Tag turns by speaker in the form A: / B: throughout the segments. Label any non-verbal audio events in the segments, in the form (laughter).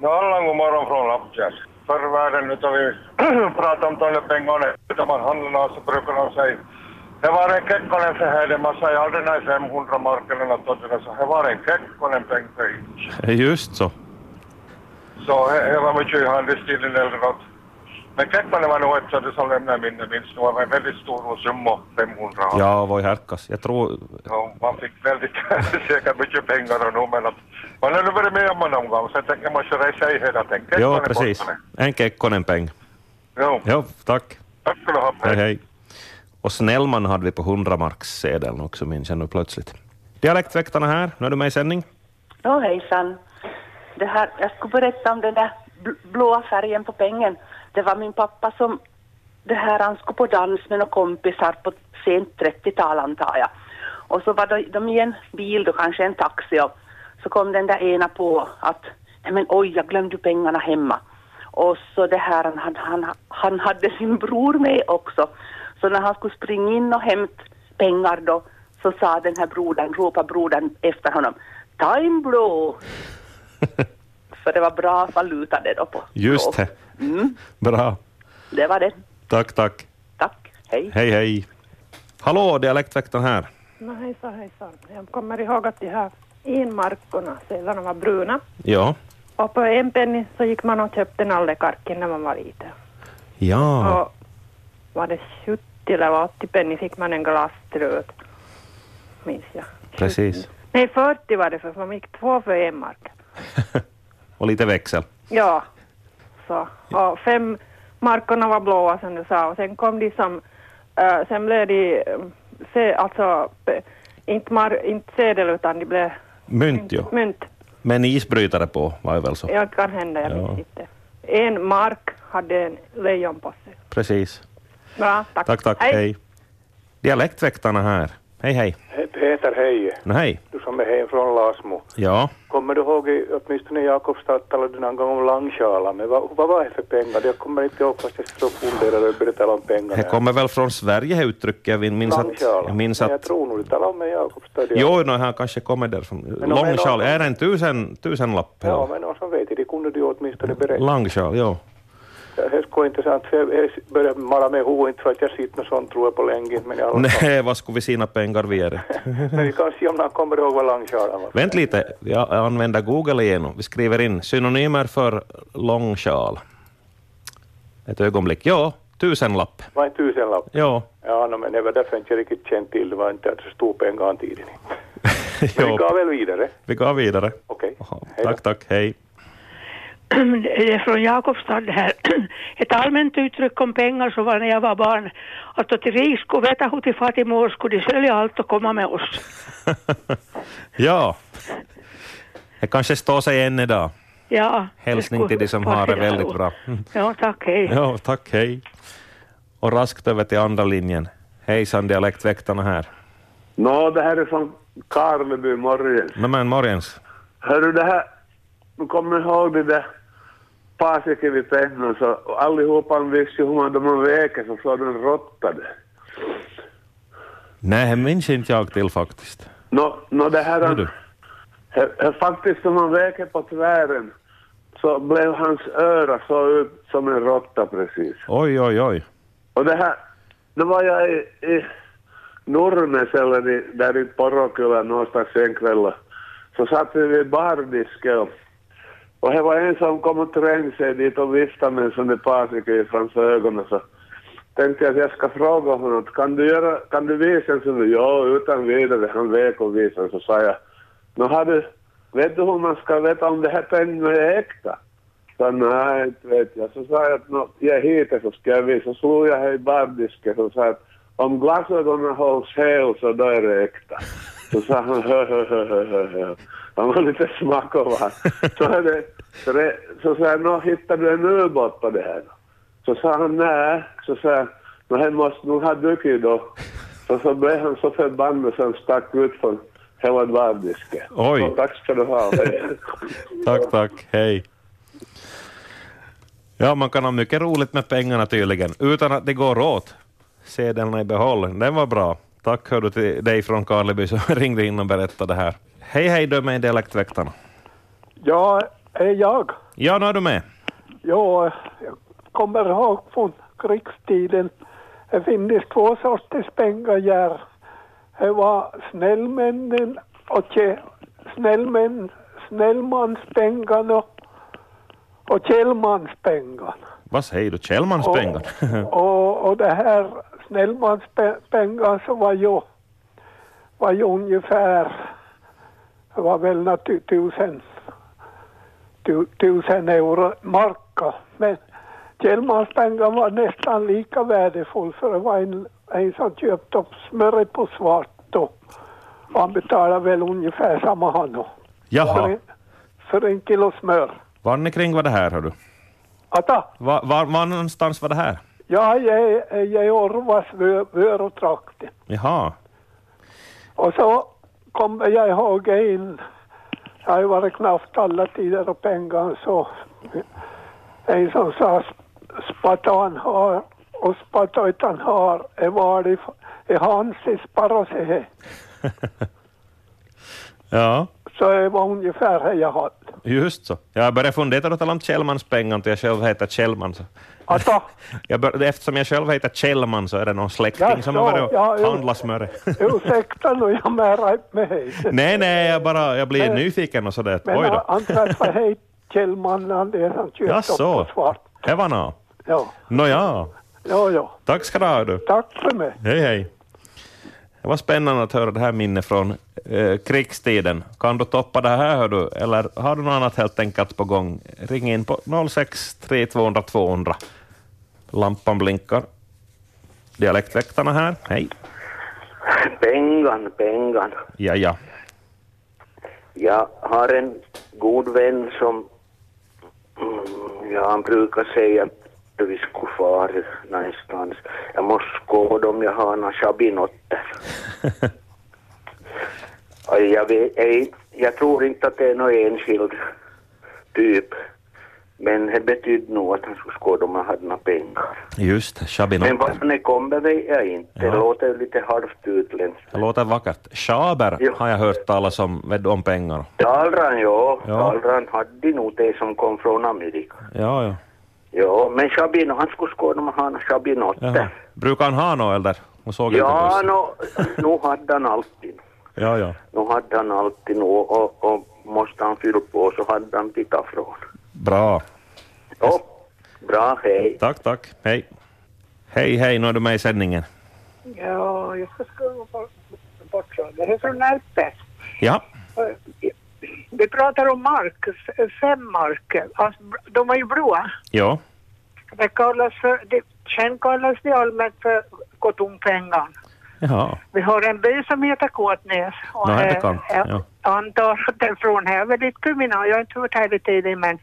A: No Allan god morgon från Lapptjärn. Förr i världen, nu tar vi pratar om Tolle Pengone, utan man handlarna så brukar de säga det var en Kekkonen för här, man säger aldrig när 500 markerna tottina, så det var en Kekkonen Pengtöj.
B: (laughs) Just så.
A: Så det det var mycket i handelstiden eller något. Men Kekkonen var nog ett sådant som lämnar minne niin minst, det var en väldigt stor summa, 500.
B: Ja, voi härkas. Jag tror...
A: Ja, man fick väldigt, (laughs) säkert mycket pengar och nummer. att- Man har nu varit med om en omgång, så jag tänker man köra i sig hela tänket.
B: Ja, precis. En Kekkonen peng.
A: Jo,
B: Ja, tack.
A: tack ska du ha.
B: Hej, hej. Och Snellman hade vi på 100-markssedeln också, minns jag nu plötsligt. Dialektväktarna här, nu är du med i sändning.
C: Nå hejsan. Det här, jag skulle berätta om den där bl- blåa färgen på pengen. Det var min pappa som, det här han skulle på dans med några kompisar på sent 30-tal antar jag. Och så var de- de i en bil då, kanske en taxi och så kom den där ena på att nej men oj jag glömde pengarna hemma. Och så det här, han, hade- han, han hade sin bror med också. Så när han skulle springa in och hämta pengar då så sa den här brodern, ropade brodern efter honom, ta in blå. För det var bra valuta det då på blå.
B: Just det.
C: Mm,
B: Bra.
C: det var det.
B: Tack, tack.
C: Tack, hej.
B: Hej, hej. Hallå, dialektväktaren här.
D: No, hejsan, hejsan. Jag kommer ihåg att de här inmarkorna, sedlarna var bruna.
B: Ja.
D: Och på en penny så gick man och köpte nallekarkin när man var liten.
B: Ja.
D: Och var det 70 eller 80 penny fick man en glasstrut, minns jag.
B: Precis.
D: Nej, 40 var det för man gick två för en mark.
B: Och lite växel.
D: Ja, så. Och fem markorna var blåa som du sa och sen kom de som, eh, sen blev de, eh, se, alltså, pe- inte, mar, inte sedel utan de blev
B: Mynt, jo.
D: mynt.
B: Men isbrytare på, var det väl så?
D: Ja, det kan hända, jag
B: Ja.
D: minns inte. En mark hade en lejon på sig.
B: Precis.
D: Bra, tack.
B: Tack, tack. Hej. Dialektväktarna här. Hej, hej.
E: Hej, Peter, hej.
B: No, hej.
E: Du som är hem från Lasmo.
B: Ja.
E: Kommer du ihåg, i- åtminstone i Jakobstad talade du någon gång om langsjalan, men vad, vad var det för pengar? Jag kommer inte ihåg fast jag så funderade och började tala om pengar.
B: Det kommer väl från Sverige, här uttrycket. Jag minns att...
E: Langsjala.
B: Jag minns
E: Men jag
B: att
E: tror nog du talade om det i Jakobstad. ja.
B: jo, no, han kanske kommer därifrån.
E: om en
B: Långsjal,
E: annan-
B: är det en tusen, tusenlapp?
E: Ja,
B: eller?
E: men någon som vet, det kunde du ju åtminstone berätta.
B: Langsjal, ja.
E: Det skulle vara intressant, för jag jag börjar mara med huvudet, inte för att jag sitter något sånt tror jag på länge, men i alla (laughs) fall.
B: Nej, (laughs) vad skulle vi sina pengar vi är det?
E: Men vi kan se om någon kommer ihåg vad langsjalan var.
B: Vänt lite, jag använder Google igen. Vi skriver in synonymer för långsjal. Ett ögonblick. Ja, (laughs) tusenlapp.
E: Var en tusenlapp?
B: Ja.
E: Ja, no, men det var därför jag inte riktigt kände till, det var inte så stor pengatiden. Men vi
B: jo.
E: går väl vidare.
B: Vi går vidare.
E: Okej.
B: Jaha,
E: Hej då.
B: Tack, tack, hej.
F: (clears throat) Det är från Jakobstad det här. (clears throat) Ett allmänt uttryck om pengar så var när jag var barn att åt rik skulle veta hur till fattigmål skulle de sälja allt och komma med oss.
B: ja. Det kanske står sig än idag.
F: Ja,
B: Hälsning
F: skulle
B: till de som har det
F: passera.
B: väldigt bra. Mm.
F: Ja, tack, hej.
B: Ja, tack, hej. Och raskt över till andra linjen. Hejsan, dialektväktarna här.
G: Nå, det här är från Karleby, morgon.
B: No, men morgens.
G: Hörru, det här... Du kommer ihåg det där pasiken vid pennan så och allihopa visste ju hur man, då man väker så såg den råttade.
B: Nej, det minns inte jag till faktiskt.
G: Nå, nå det här...
B: Nu du.
G: He, he, faktiskt när man väker på tvären så blev hans öra så ut som en råtta precis.
B: Oj, oj, oj.
G: Och det här, då var jag i, i Nurmes eller i, där i Porokylä någonstans en kväll och så satt vi vid bardisken och, och det var en som kom och trängde sig dit och viftade med en sån där pasike framför ögonen så tänkte jag att jag ska fråga honom att kan du, göra, kan du visa en sån där? Ja, utan vidare. Han vek och visade så sa jag nu har du, vet du hur man ska veta om det här pengarna är äkta? Så nej, inte vet jag. Så sa jag att nå, jag hittar så ska jag visa. Så slog jag här i bardisken och sa att om glasögonen hålls hel så då är det äkta. Så sa han hö, hö, hö, hö, hö, hö. Han var lite smakovan. Så, är det, tre- så sa jag, nå hittar du en ubåt på det här? Så sa han nej. Så sa jag, nå det måste nog ha dukit då. Så, så blev han så förbannad så han stack ut från hela bardisken.
B: Oj.
G: Så, tack ska du ha.
B: Tack, tack. Hej. Ja, man kan ha mycket roligt med pengarna tydligen, utan att det går åt. Sedlarna i behåll. Den var bra. Tack hör du till dig från Karleby som (laughs) ringde in och berättade det här. Hej, hej, du är med i Dialektväktarna.
H: Ja, är jag.
B: Ja, nu är du med.
H: Ja, jag kommer ihåg från krigstiden. Det finns två sorters pengagär. Det var snällmännen och kä- snällmän, snällmanspengarna och källmanspengarna.
B: Vad säger du? Kjellmans pengar? (laughs)
H: Och, och det här snällmanspengar så var ju, var ju ungefär, det var väl natu- tusen, tu, tusen euro marka. Men Kjellmanspengar var nästan lika värdefull för det var en, en som köpte upp smöret på svart då. Och han betalade väl ungefär samma han då. För
B: Jaha.
H: en, för en kilo smör.
B: Var kring var det här, hör du?
H: Atta,
B: Var, var, var någonstans var det här?
H: jag är i Orvas vö- Vörotrakten.
B: Jaha.
H: Och så kommer jag ihåg en, jag har ju varit knappt alla tider och pengar så, en som sa "Sp- spatan har och spatatan har, är var i, i hans i sparrosehe.
B: Ja,
H: Så det var ungefär det jag hade.
B: just så. Jag började fundera att tala om Kjellmans pengar till jag själv heter Kjellman. Så.
H: Alltså,
B: (laughs) Jag bör, eftersom jag själv heter Kjellman så är det någon släkting
H: Ja,
B: som har varit och
H: ja, ja.
B: handlat smör.
H: ursäkta nu, jag menar med hej.
B: (laughs) nej, nej, jag bara jag blir nyfiken och sådär.
H: Men
B: Oj
H: han-
B: då.
H: han träffade hej Kjellmannen, det som köpte upp
B: Jaså.
H: på svart.
B: Det var nå.
H: Ja,
B: Nåja,
H: ja, ja.
B: tack ska du ha. Du.
H: Tack för mig.
B: Hej, hej. Det var spännande att höra det här minnet från eh, krigstiden. Kan du toppa det här, hör du? eller har du något annat helt enkelt på gång? Ring in på 063 200 200. Lampan blinkar. Dialektväktarna här, hej.
I: Pengan, pengan.
B: Ja, ja.
I: Jag har en god vän som, mm, ja han brukar säga att vi skulle fara någonstans. Jag måste skåda om jag har några chabinotter. Och jag, vet, ej, jag tror inte att det är någon enskild typ. Men det betydde nog att han skulle skåda om jag hade några pengar.
B: Just
I: Men
B: Chabinotter.
I: varför ni kommer vet jag inte.
B: Ja.
I: Det låter ju lite halvt utländskt.
B: Det låter vackert. Schaber
I: Jo.
B: har jag hört talas om, vet du, om pengar.
I: Dalran, ja.
B: Ja.
I: Dalran hade nog det som kom från Amerika.
B: Ja, ja.
I: Ja, men Shabino, han skulle skåda med han
B: Jaha.
I: Shabinotte.
B: Brukar han ha något eller? Hon såg
I: Ja,
B: inte
I: nå, nu hade han alltid.
B: no. Ja, ja.
I: Nu hade han alltid nog och, och måste han fylla på så hade han tittat från.
B: Bra.
I: Ja, bra, hej.
B: Tack, tack. Hej. Hej, hej, nu är du med i sändningen.
J: Ja, jag ska skriva bort- bort så. Det är från Närpes.
B: Ja,
J: Vi pratar om mark, f- fem marker. Alltså, de var ju blåa.
B: ja,
J: Det kallas för, det, sen kallas det allmänt för Kotumpengan.
B: ja.
J: Vi har en by som heter Kåtnäs. Och,
B: Nå, det
J: eh,
B: kan.
J: jag
B: Ja.
J: antar att den från här är väldigt kriminal. Jag har inte hört hela tiden men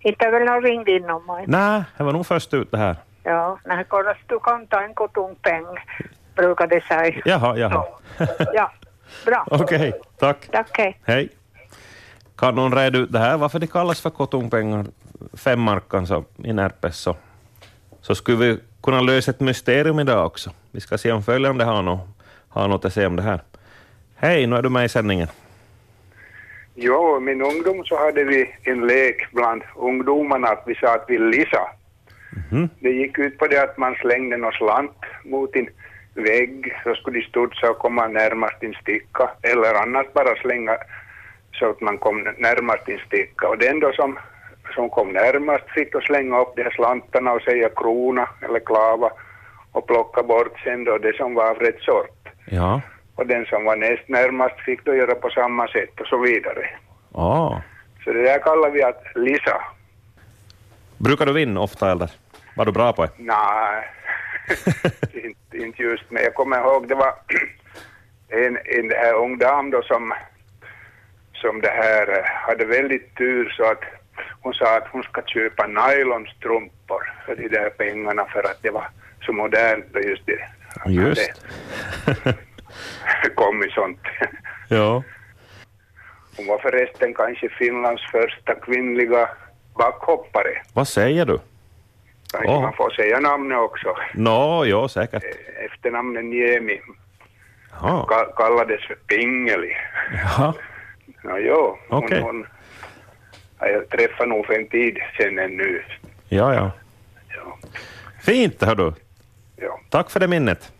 J: inte väl någon ringde in om mig.
B: Nej, det var nog först ut det här.
J: Ja, när det kallas du kan ta en Kotumpeng brukar det säga.
B: Jaha, jaha.
J: Ja, bra.
B: (laughs) Okej, tack.
J: Tack, hej.
B: Hej. Kan någon reda ut det här, varför det kallas för kotumpengar, femmarkan så, i Närpes så, så skulle vi kunna lösa ett mysterium idag också. Vi ska se om följande har något, har något att säga om det här. Hej, nu är du med i sändningen.
K: Jo, min ungdom så hade vi en lek bland ungdomarna att vi sa att vi lisa.
B: Mhm,
K: Det gick ut på det att man slängde någon slant mot en vägg så skulle de studsa och komma närmast en sticka eller annars bara slänga så att man kom närmast en sticka. Och den då som, som kom närmast fick att slänga upp de här slantarna och säga krona eller klava och plocka bort sen då det som var av rätt sort.
B: Ja,
K: Och den som var näst närmast fick då göra på samma sätt och så vidare.
B: ah.
K: Så det där kallar vi att lisa.
B: Brukar du vinna ofta eller? Var du bra på det?
K: Nej, inte, inte just. Men jag kommer ihåg det var en, en det här ung dam då som, som det här eh, hade väldigt tur så att hon sa att hon ska köpa nylonstrumpor för de där pengarna för att det var så modernt och just det. (laughs)
B: Just.
K: Det kom ju sånt.
B: ja.
K: Hon var förresten kanske Finlands första kvinnliga backhoppare.
B: Vad säger du?
K: Kanske
B: Åh.
K: man får säga namnet också.
B: Nå, ja, säkert.
K: Efternamnet Niemi
B: Jaha.
K: ka- kallades för Pingeli.
B: Jaha.
K: No, jo,
B: Okej.
K: hon, hon Jag träffade nog för en tid sedan ännu.
B: Ja, ja. Fint, hör du.
K: Ja.
B: Tack för det minnet.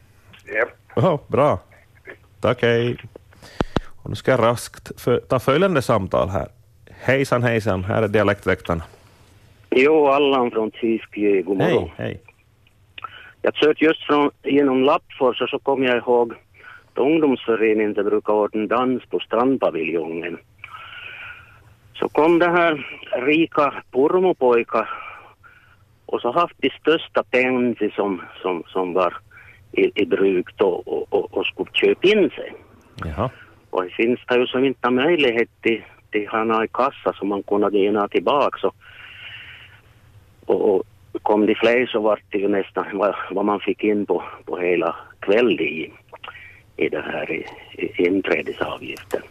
K: Japp.
B: Oho, bra. Tack, hej. Och nu ska jag raskt för, ta följande samtal här. Hejsan, hejsan, här är dialektväktaren.
L: Jo, Allan från Tiskö, god morgon.
B: Hej, hej.
L: Jag kört just från, genom Lappfors och så kom jag ihåg att ungdomsföreningen där brukade ordna dans på strandpaviljongen. Så kom det här rika pormopojkar och så haft de största pengar som, som, som var i, i bruk då och, och, och skulle köpa in sig.
B: Jaha.
L: Och det finns det ju som inte möjlighet till, till hana i kassa som man kunde gena tillbaka. Så, och, och kom de fler så var det ju nästan vad, vad man fick in på, på hela kvällen i, i det här i, i inträdesavgiften.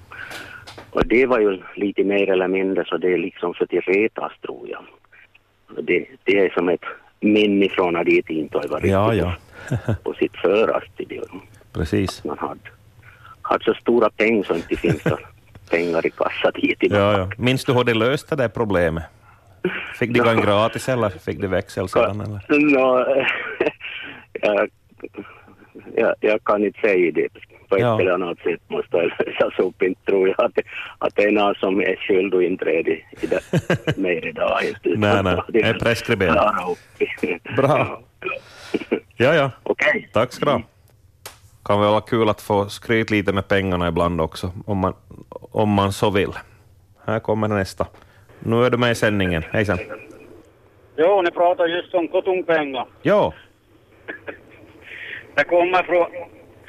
L: Och det var ju lite mer eller mindre så det är liksom för till retas tror jag. Och Det, det är som ett minne från när det inte har varit
B: Ja, ja,
L: (laughs) på sitt föraste. Det-
B: (laughs) precis.
L: Man hade, hade så stora pengar så inte finns
B: (laughs)
L: det pengar i kassan dit.
B: Ja, ja. Minns du hur de löste det problemet? Fick de gå en gratis eller fick de växel sedan? Eller?
L: (laughs) Nå, jag, jag, jag kan inte säga det. På ett
B: Ja.
L: eller annat sätt måste (laughs) det lösas upp. Inte tror jag att, att det är någon som är skyldig och inträde i det mer idag. Inte.
B: Nej, nej, det är preskriberat.
L: Klara upp.
B: Bra. Ja, ja.
L: Okej.
B: Tack ska du ha. Mm. Kan väl vara kul att få skryta lite med pengarna ibland också, om man, om man så vill. Här kommer nästa. Nu är du med i sändningen. Hejsan.
M: Jo, ni pratar just om kotungpengar.
B: Ja,
M: Det kommer från,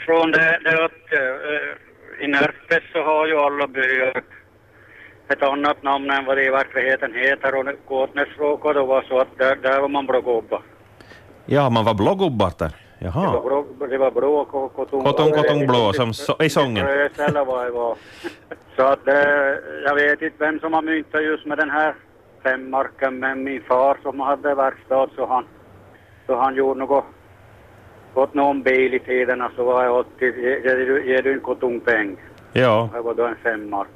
M: från det, det att eh, i Närpes så har ju alla byar ett annat namn än vad det i verkligheten heter och Gåtnäs råkade det vara så att där, där var man blågubbar.
B: ja man var blågubbar där.
M: Det
B: Jaha.
M: var blå- Det var bråk och kotung...
B: Kotong, kotong blå som så, i sången.
M: Frös eller vad det var. Så att det, jag vet inte vem som har myntat just med den här femmarken men min far som hade verkstad så han, så han gjorde något, fått någon bil i tiderna så var jag alltid, "Ge- ger du- ger du en kotungpeng?
B: Ja,
M: Det var då en femmark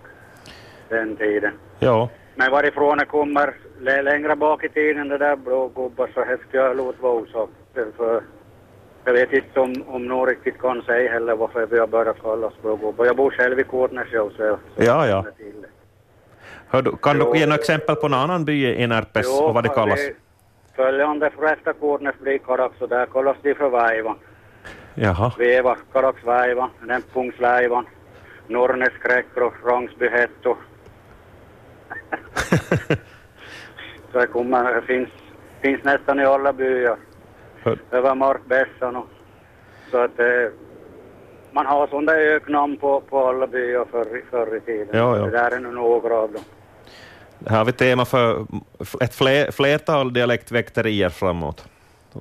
M: den tiden.
B: ja.
M: Men varifrån det kommer lä- längre bak i tiden det där blågubbar så häftiga jag låt vara osagt. För jag vet inte om, om någon riktigt kan säga heller varför vi har börjat kalla oss blågubbar. Jag bor själv i Kåtnäs jag så jag
B: Ja, ja.
M: känner till det.
B: Hör du, kan du ge några exempel på någon annan by i Närpes och vad det kallas?
M: Följande för efter Kåtnäs blir Karax och där kallas de för Väivan.
B: Jaha.
M: Veva, Karaksväivan, Lempungsväivan, Norrnes Kräkro, Rangsby
B: (laughs)
M: Hetto. Så det kommer, det finns, finns nästan i alla byar.
B: Hör-
M: Över markbässan och så att eh, man har sådana öknamn på, på alla byar förr, förr i tiden.
B: Ja, ja.
M: Det där är nog några av dem.
B: Här har vi tema för ett fler, flertal dialektväkterier framåt.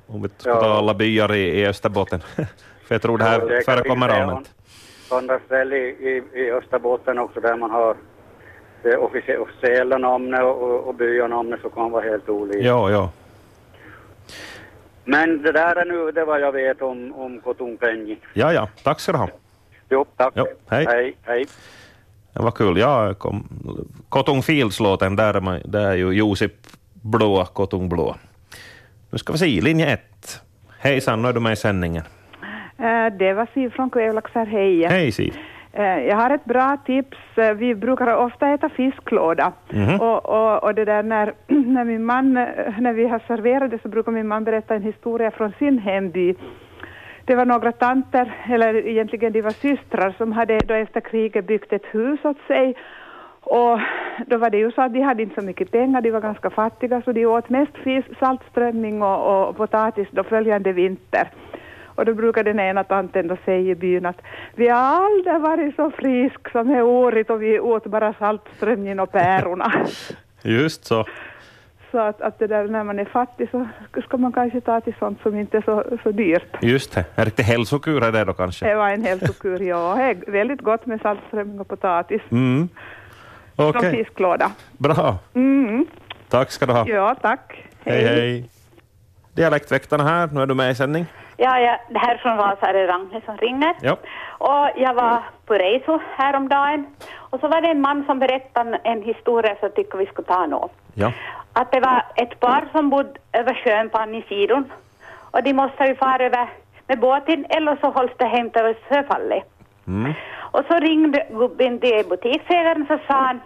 B: Om vi ska ta alla byar i, i Österbotten. (laughs) För jag tror det
M: Ja,
B: här
M: det kan
B: förekommer
M: finnas
B: allmänt.
M: Andra ställen i, i, i Österbotten också där man har det officie- officiella namnet och, och, och byanamnet så kan vara helt olika.
B: Ja, ja.
M: Men det där är nu det vad jag vet om, om Kotungpenji.
B: Ja, ja. Tack ska du ha.
M: Jo, tack.
B: Jo, hej.
M: Hej, hej.
B: Det var kul. Ja, kom, Kotong Fields-låten, där, är man- där är ju Josip blå, Kotong blå. Nu ska vi se, linje ett. Hejsan, nu är du med i sändningen.
N: Eh, Det var Siv från Kvävlax här, hej.
B: Hej Siv.
N: Eh, Jag har ett bra tips. Eh, Vi brukar ofta äta fisklåda.
B: Mhm.
N: Och, och, och det där när, (clears throat) när min man, eh, när vi har serverat det så brukar min man berätta en historia från sin hemby. Det var några tanter, eller egentligen de var systrar, som hade då efter kriget byggt ett hus åt sig. Och då var det ju så att de hade inte så mycket pengar, de var ganska fattiga, så de åt mest fisk, saltströmming och, och potatis då följande vinter. Och då brukar den ena tanten då säga i byn att vi har aldrig varit så frisk som det året och vi åt bara saltströmming och pärorna.
B: Just så.
N: så att, att det där när man är fattig så ska man kanske ta till sånt som inte är så, så dyrt.
B: Just det. En riktig hälsokur är det då kanske.
N: Det var en hälsokur, ja. Det är väldigt gott med saltströmming och potatis.
B: Mm. Okej,
N: Från fisklåda.
B: bra.
N: Mm.
B: Tack ska du ha.
N: Ja, tack.
B: Hej, hej. Dialektväktarna här, nu är du med i sändning.
O: Ja, ja, det här är från Vasa, det är Ragnhild som ringer.
B: Ja.
O: Och jag var på resor häromdagen och så var det en man som berättade en historia som jag tycker vi skulle ta nu.
B: Ja.
O: Att det var ett par som bodde över sjön på andra sidan och de måste ju fara över med båten eller så hålls det hem över sjöfallet.
P: Mm.
O: Och så ringde gubben till butiksägaren så sa han,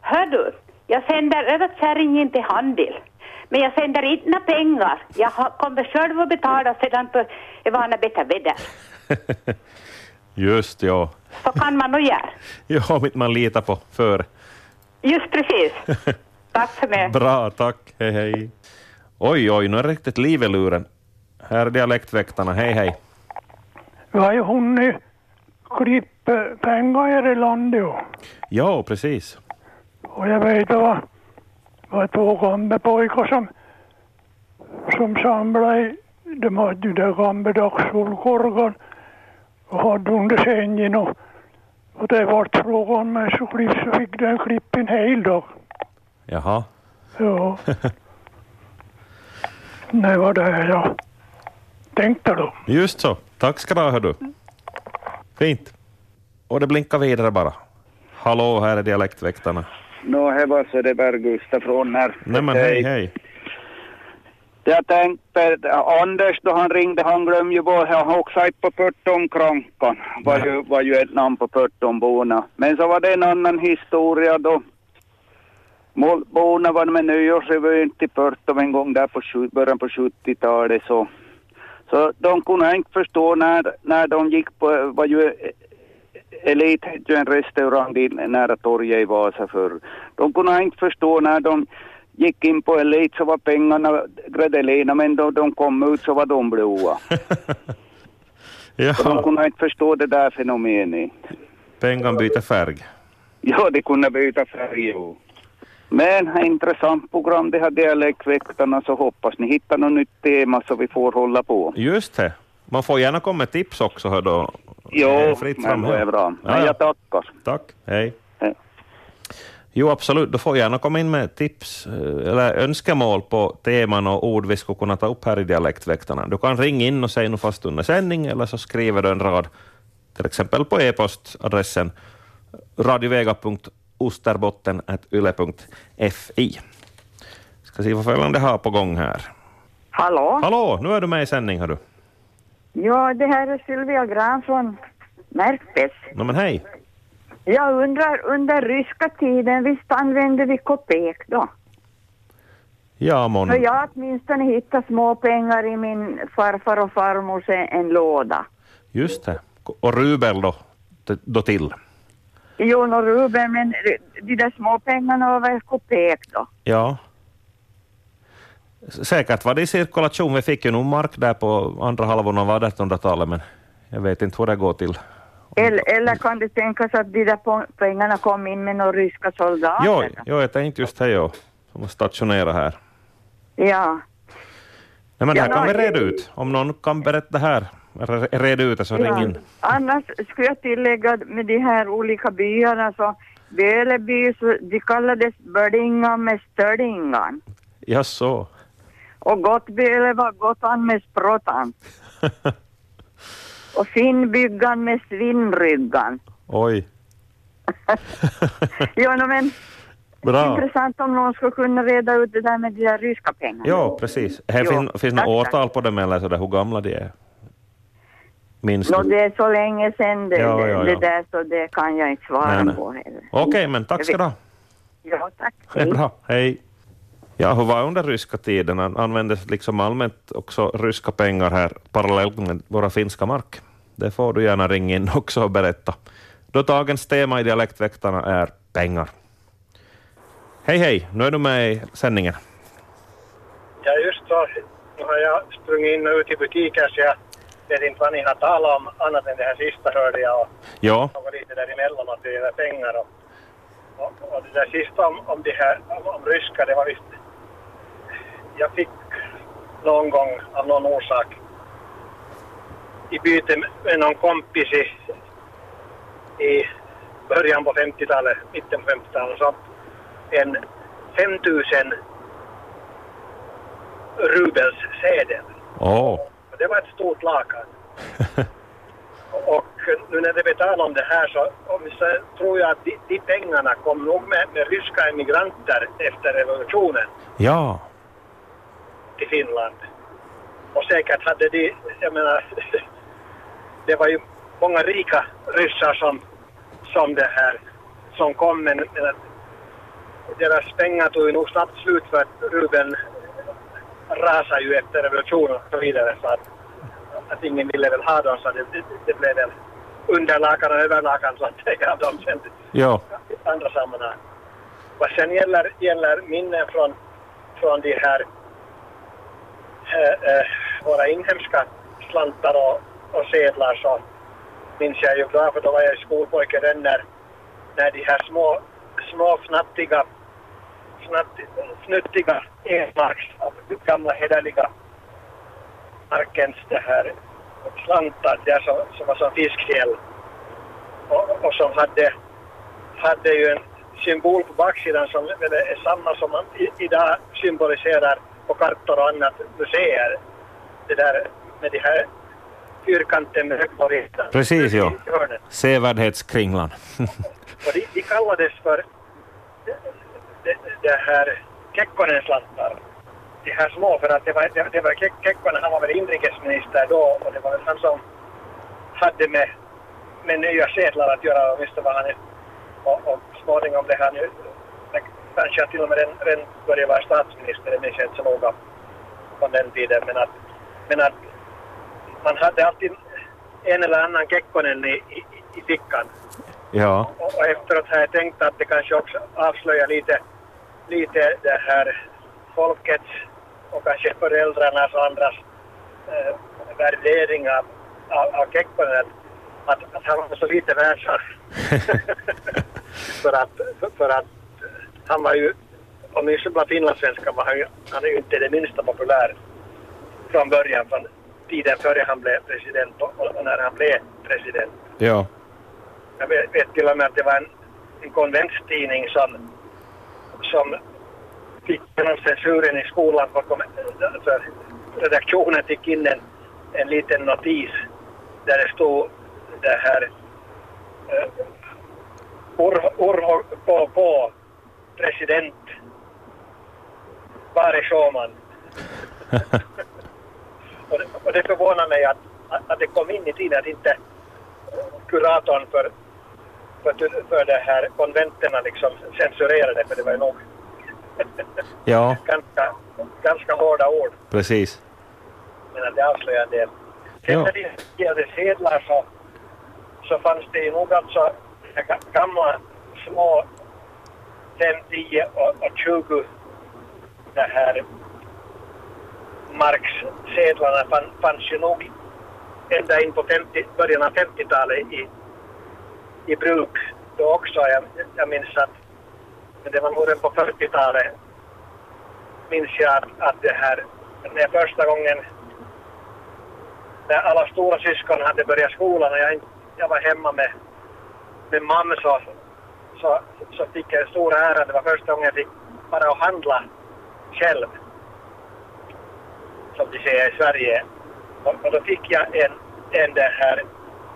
O: Hör du, jag sänder över kärringen till handel. Men jag sänder inte några pengar. Jag har- kommer själv att betala sedan på det var när bättre väder.
B: Just ja.
O: Så kan man nog göra.
B: Ja, om inte man litar på för.
O: Just precis. Tack för mig.
B: Bra, tack. Hej, hej. Oj, oj, nu är det riktigt liv i luren. Här är dialektväktarna. Hej, hej.
H: Vi har ju hunnit klippa pengar här i landet och-
B: Ja, precis.
H: och jag vet att det var två gamla pojkar som, som samlade, i- de hade ju där gamla dagssolkorgar och hade under sängen och, och det vart fråga om en så klipp så fick den klipp en hel dag.
B: Jaha.
H: Ja, det var det jag tänkte då.
B: Just så. Tack ska du ha, hördu. Fint. Och det blinkar vidare bara. Hallå, här är dialektväktarna.
Q: Nå, här var så det Berg-Gustaf från här.
B: Nej, men hej, hej.
Q: Jag tänkte, Anders då han ringde, han glömde ju bort, han har också ett på Pörtomkrankan. Var ju, var ju ett namn på Pörtomborna. Men så var det en annan historia då. Målborna var med nyårsrevyn till Pörtom en gång där på sju- början på 70-talet så. Så de kunde inte förstå när, när de gick på, var ju Elit hette ju en restaurang dit nära torget i Vasa förr. De kunde inte förstå när de gick in på Elit så var pengarna gredelina men då de kom ut så var de
B: (laughs)
Q: blåa. Och De kunde inte förstå det där fenomenet.
B: Pengan byter färg.
Q: Ja, de kunde byta färg. jo. Men intressant program det här dialektväktarna så hoppas ni hittar något nytt tema så vi får hålla på.
B: Just det. Man får gärna komma med tips också, hördu.
Q: Jo,
B: fritt
Q: men
B: fram
Q: det
B: här.
Q: är bra.
B: Ja,
Q: Men
B: ja.
Q: jag tackar.
B: Tack, hej. Jo, absolut. Du får gärna komma in med tips eh, eller önskemål på teman och ord vi skulle kunna ta upp här i Dialektväktarna. Du kan ringa in och säga något fast under sändning eller så skriver du en rad, till exempel på e-postadressen radiovegaosterbotten.yle.fi. Ska se vad följande har på gång här.
R: Hallå?
B: Hallå, nu är du med i sändning. Hördu.
R: Ja, det här är Sylvia Gran från Märkbäck.
B: No, men hej.
R: Jag undrar, under ryska tiden, visst använde vi kopek då?
B: Ja,
R: För
B: mon.
R: jag åtminstone hittade småpengar i min farfar och farmors en, en låda.
B: Just det. Och rubel då, då till.
R: Jo, några rubel, men de där småpengarna var väl kopek då?
B: Ja. S- Säkert var det i cirkulation. Vi fick ju nog mark där på andra halvan av 1800-talet, men jag vet inte hur det går till.
R: Eller, eller kan det tänkas att de där po- pengarna kom in med några ryska soldater?
B: Jo, jo jag tänkte just det, jo. som att stationera här.
R: Ja.
B: Nej, men det här
R: Ja,
B: kan vi
R: nej.
B: reda ut. Om någon kan berätta här, re- reda ut det, så ring in.
R: Annars skulle jag tillägga med de här olika byarna så Böleby, så de kallades Bördingan med Stördingan.
B: Ja, så.
R: Och Gottböle var Gottan med
B: (laughs)
R: Språtan. Och Finnbyggan med
B: (laughs)
R: Svinnryggan.
B: Oj,
R: Jo, nå, men
B: bra.
R: intressant om någon skulle kunna reda ut det där med de där ryska pengarna.
B: Ja, precis. Här
R: Jo,
B: fin, finns
R: tack,
B: några
R: tack.
B: årtal på dem, eller så där, hur gamla de är? Minns
R: Nå,
B: du?
R: det är så länge sedan det,
B: Ja,
R: det,
B: ja,
R: det
B: ja.
R: där så det kan jag inte svara
B: Nej, nej.
R: på heller.
B: Okej, men tack ska du ha.
R: Ja, tack.
B: Det är bra, hej. Ja, hur var under ryska tiden? An- Användes liksom allmänt också ryska pengar här parallellt med våra finska mark? Det får du gärna ringa in också och berätta. Då dagens tema i Dialektväktarna är pengar. Hej, hej, nu är du med i sändningen.
S: Ja, just så. Nu har jag sprungit in och ut i butiken så jag vet inte vad ni har talat om annat än det här sista hörde jag och
B: Ja,
S: något lite däremellan att det gäller pengar och, och, och det där sista om, om det här om, om ryska det var visst jag fick någon gång av någon orsak i byte med någon kompis i, i början på 50-talet, mitten på 50-talet så en 5000 rubels sedel.
B: åh,
S: För Det var ett stort lakan. och, och nu när det vi talar om det här så, om vi säger, tror jag att de, de pengarna kom nog med, med ryska emigranter efter revolutionen
B: Ja,
S: till Finland. Och säkert hade de, jag menar, (laughs) det var ju många rika ryssar som, som det här, som kom men, men att deras pengar tog ju nog snabbt slut för att rubeln rasade ju efter revolutionen och så vidare så att, att ingen ville väl ha dem så det, det, det blev väl underlakan och överlakan så att säga av dem sen
B: ja.
S: i andra sammanhang. Vad sen gäller, gäller minnen från, från de här eh, eh, våra inhemska slantar och, och sedlar så minns jag ju bra för då var jag skolpojke den när, när de här små, små fnattiga, fnatt, fnuttiga enmarks, alltså gamla hederliga markens det här slantar där som, som var som fiskfjäll och, och som hade, hade ju en symbol på baksidan som väl är samma som man i, idag symboliserar på kartor och annat museer. Det där med de här fyrkanten med högborgen.
B: precis. Ja. Sevärdhetskringlan.
S: Och de, de kallades för det, det här Kekkonens slantar. De här små, för att det var, det, det var Kek- Kekkonen, han var väl inrikesminister då och det var väl han som hade med, med nya sedlar att göra, åtminstone var han och, och småningom blev han ju kanske till och med den, den började vara statsminister, det minns jag inte så noga från den tiden, men att, men att man hade alltid en eller annan Kekkonen i, i, i fickan.
B: (laughs) Ja.
S: Och, och efteråt har jag tänkt att det kanske också avslöjar lite, lite det här folkets och kanske föräldrarnas och andras eh, värdering av, av, av Kekkonen. Att, att, att han var så lite världsarv. för, att, för, för att eh, han var ju, åtminstone bland finlandssvenskar var han ju, han är ju inte det minsta populär från början, från tiden före han blev president och, och när han blev president.
B: Ja.
S: Jag vet, vet till och med att det var en, en konventstidning som, som fick genom censuren i skolan, för, kom- alltså, redaktionen fick in en, en liten notis där det stod det här eh, Urho, Urho på, på president, var är Schumann? och, det, och det förvånar mig att, att, att det kom in i tiden att inte kuratorn för, för, för det här konventerna liksom censurerade, för det var ju nog
B: ja,
S: ganska, ganska hårda ord,
B: precis.
S: men att det avslöjar en del. Sen
B: Ja.
S: när det gällde sedlar så, så fanns det ju nog alltså ga- gamla små 5, 10 och, och 20 det här marksedlarna fann, fanns ju nog ända in på 50, början av 50-talet i, i bruk då också. Jag, jag minns att men det var nog redan på 40-talet minns jag att, att det här när första gången när alla stora syskon hade börjat skolan och jag, inte- jag var hemma med, med mamma så, så, så fick jag en stor ära. Det var första gången jag fick bara att handla själv. Som de säger i Sverige. Och, och då fick jag en, en det här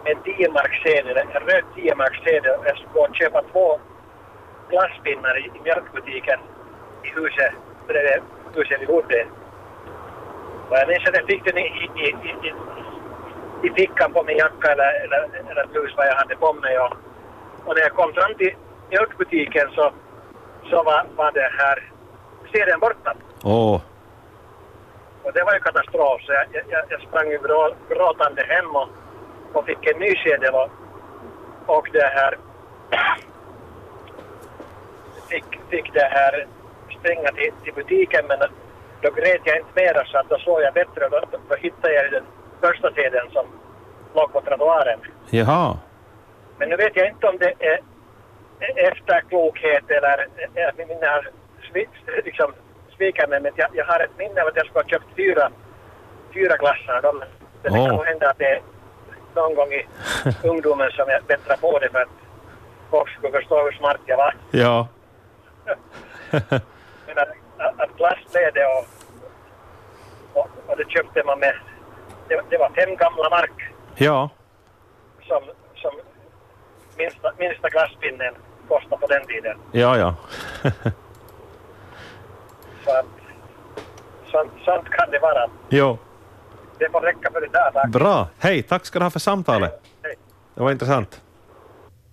S: en 10-markssedel, en röd 10-markssedel. Jag skulle gå och köpa två glasspinnar i, i mjölkbutiken i huset bredvid huset vi bodde. Och jag minns att jag fick den i, i, i, i, i fickan på min jacka eller, eller, eller blus vad jag hade på mig. Och, och när jag kom fram till mjölkbutiken så, så var, var det här sedeln borta.
B: Åh,
S: Och det var ju katastrof så jag, jag- jag, jag sprang ju grå- gråtande hem och, och fick en ny sedel och, och det här (clears throat) fick, fick det här springa till, till butiken men då grät jag inte mera så att då såg jag bättre och då, då, då hittade jag den första sedeln som låg på trottoaren.
B: jaha.
S: Men nu vet jag inte om det är efterklokhet eller eller min minne har svi- liksom svikit mig. Men jag, jag har ett minne av att jag skulle ha köpt fyra, fyra glassar. av dem. Det kan
B: Åh.
S: nog hända att det är någon gång i ungdomen som jag bättrar på det för att folk skulle förstå hur smart jag var.
B: Ja.
S: Men att, att, att glass blev det och, och, och det köpte man med, det, det var fem gamla mark
B: Ja,
S: som, som minsta, minsta glasspinnen kostade på den tiden.
B: ja, ja. (laughs)
S: Så att, sånt, sånt kan det vara.
B: jo,
S: Det får räcka för det där. tack.
B: bra. Hej, tack ska du ha för samtalet.
S: Hej.
B: Det var intressant.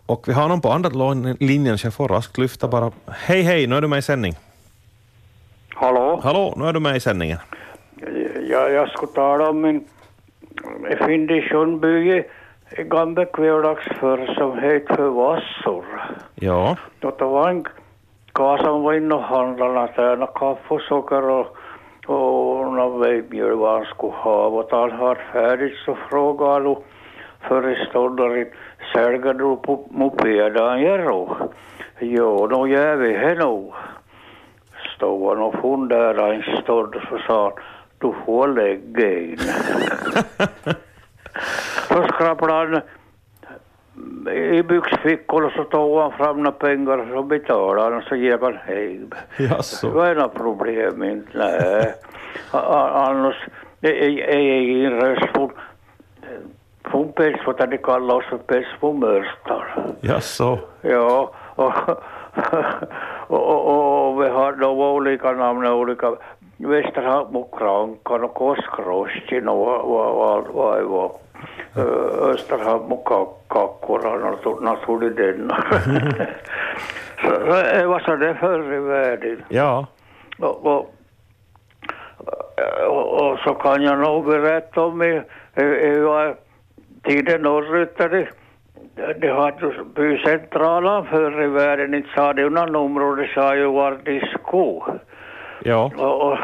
B: Och vi har någon på andra lån- linjen, så jag får raskt lyfta bara. Hej, hej, nu är du med i sändning.
P: Hallå?
B: Hallå, nu är du med i sändningen.
P: Jag, jag skulle tala om en en fynd i Sundbyge i gamla kvävlax förr som hette för Vassor.
B: Ja,
P: Då det var en karl som var inne och handlade något där, något kaffe och socker och, och någon vägmjöl vad han skulle ha. Och han hade färdigt så frågade han då föreståndaren, säljer du på mopeden Jerro? Ja, nå gör vi det nog. Stod han och funderade en stund så sa han, du får lägga in. så skrapade han i byxfickorna så tog han fram några pengar och så betalade han och så gick han hem.
B: Jaså?
P: Det var inga problem inte, nej. A- Annars, det är är ingen röst från, från Petsbo, där de kallar oss för Petsbomörstar.
B: jaså?
P: Ja, och, (laughs) och, och, och vi har de olika namn, olika Västerhamn och Krankan och Koskrossin och vad- vad vad- vad det var. Ö- Österhamn och Kak- Kakkola, något sånt i den. (laughs) Så så det var så det förr i världen.
B: Ja.
P: Och, och, och, och så kan jag nog berätta om i- i- i vad tiden norrut där det det hade ju bycentralan förr i världen, inte sa det någon område, sa ju var disco.
B: Ja.
P: Och, och,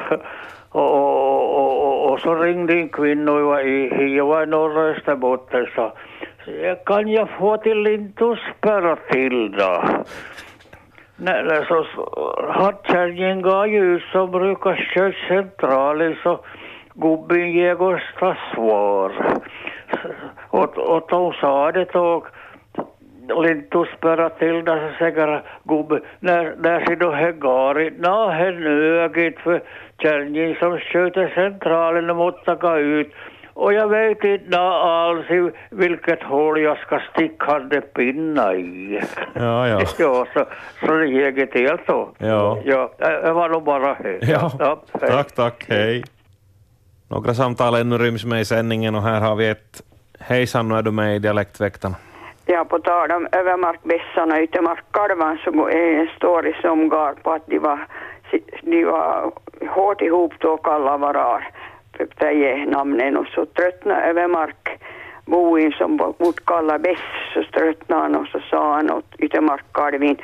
P: och, och, och, och, och så ringde en kvinna, och jag var i, jag var i norra Österbotten, sa kan jag få till Lindosberg till då? Nej, nej, så så- hattkärringen gav ljus som brukar köra centralen så gubben ger oss ta svar. Och, och de sa det och Lintus spärra till där så säger gubben, när, när ser du Hegari? Nå, henögigt för kärringen som sköter centralen och måste gå ut. Och jag vet inte nå alls i vilket hål jag ska sticka handen pinna i.
B: Ja, ja.
P: (laughs) Ja, så, så det gick inte helt så.
B: Ja.
P: Ja, det det var nog bara det.
B: Ja.
P: hej.
B: Tack, tack, hej. Några samtal ännu ryms med i sändningen och här har vi ett. Hejsan, nu är du med i Dialektväktarna.
T: Ja, på tal om övermarkbässarna, yttermarkskalvarna, så är en story som går på att de var, de var hårt ihop då kalla varar, det är namnen, och så tröttnade övermark boin som mot kalla bäss, så tröttnade han och så sa han åt yttermarkskalvin,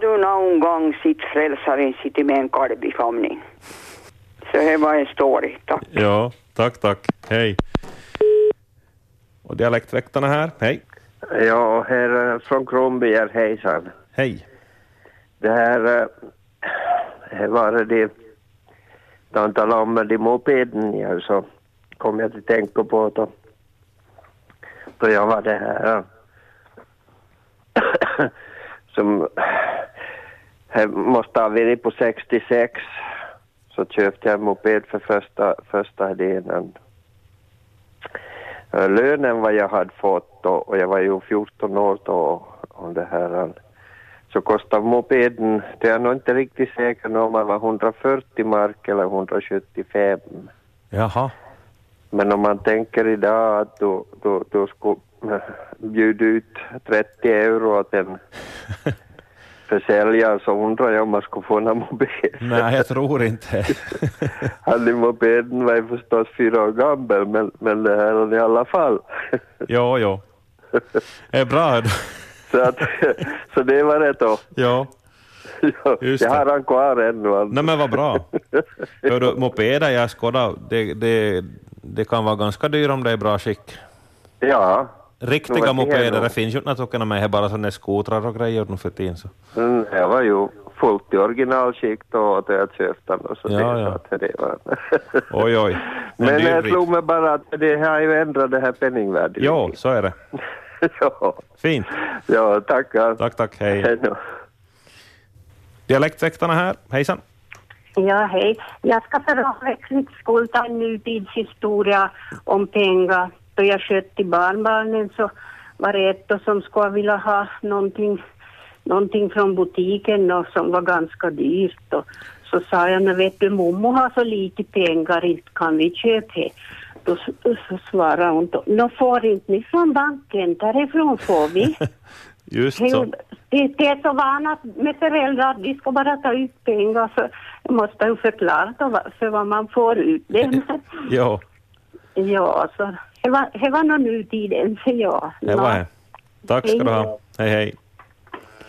T: du någon gång sitt frälsaren sitter med en kalv i famnen. Så det var en story, tack.
B: Ja, tack, tack, hej. Och Dialektväktarna här, hej.
U: Ja, herr från Kronbjer, hejsan.
B: Hej.
U: Det här eh, var det, då han talade om de mopeden, ja, så kom jag att tänka på då, då jag var det här eh, (coughs) som eh, måste ha varit på 66 så köpte jag en moped för första, första delen. Eh, Lönen vad jag hade fått då, och jag var ju 14 år då, och det här eh, så kostade mopeden, det är jag nog inte riktigt säker nu om det var 140 mark eller 175.
B: Jaha.
U: Men om man tänker idag att då, då, då skulle (laughs) bjuda ut 30 euro åt en försäljare så undrar jag om man skulle få någon moped.
B: Nej, jag tror
U: (laughs)
B: inte.
U: Hade mopeden var ju förstås fyra år gammal men, men det här är i
B: (laughs)
U: alla fall.
B: Jo, jo. Det är bra.
U: (laughs) så, att, så det var det då.
B: (laughs) Ja.
U: Ja, jag har han kvar ännu. alltså.
B: Nej men vad bra. Hör du, mopeder, jag skådar, det, det, det kan vara ganska dyrt om det är i bra skick.
U: (laughs) Ja. Nå,
B: Riktiga
U: vad det är
B: mopeder,
U: då?
B: det finns ju inte något med, det är bara sådana skotrar och grejer nu för tiden. Så.
U: Mm, det var ju fullt i originalskick då att jag köpte den och så
B: Ja,
U: det,
B: ja.
U: Så att det var. (laughs)
B: Oj, oj.
U: Men
B: dyr
U: jag
B: bit.
U: slog mig bara att det har ju ändrat det här penningvärdet.
B: Jo, så är det.
U: (laughs) ja.
B: Fint.
U: Ja, tackar.
B: Tack, tack. Hej.
U: då.
B: Dialektväktarna här, hejsan.
A: Ja, hej. Jag ska för avvecklings skull ta en nutidshistoria om pengar. Då jag sköt till barnbarnen så var det ett och som skulle vilja ha någonting, någonting från butiken och som var ganska dyrt. Och så sa jag, men vet du, mommo har så lite pengar, inte kan vi köpa det. Då s- så svarade hon, då, nå får inte ni från banken, därifrån får vi.
B: Just
A: Hej,
B: så.
A: Det, det är så vanat med föräldrar, de ska bara ta ut pengar. Så jag måste ju förklara då va- för vad man får ut. Det,
B: (laughs) Jo,
A: ja, så det var, det var nog nu tiden för jag.
B: det var det. Tack ska du ha. Hej, hej.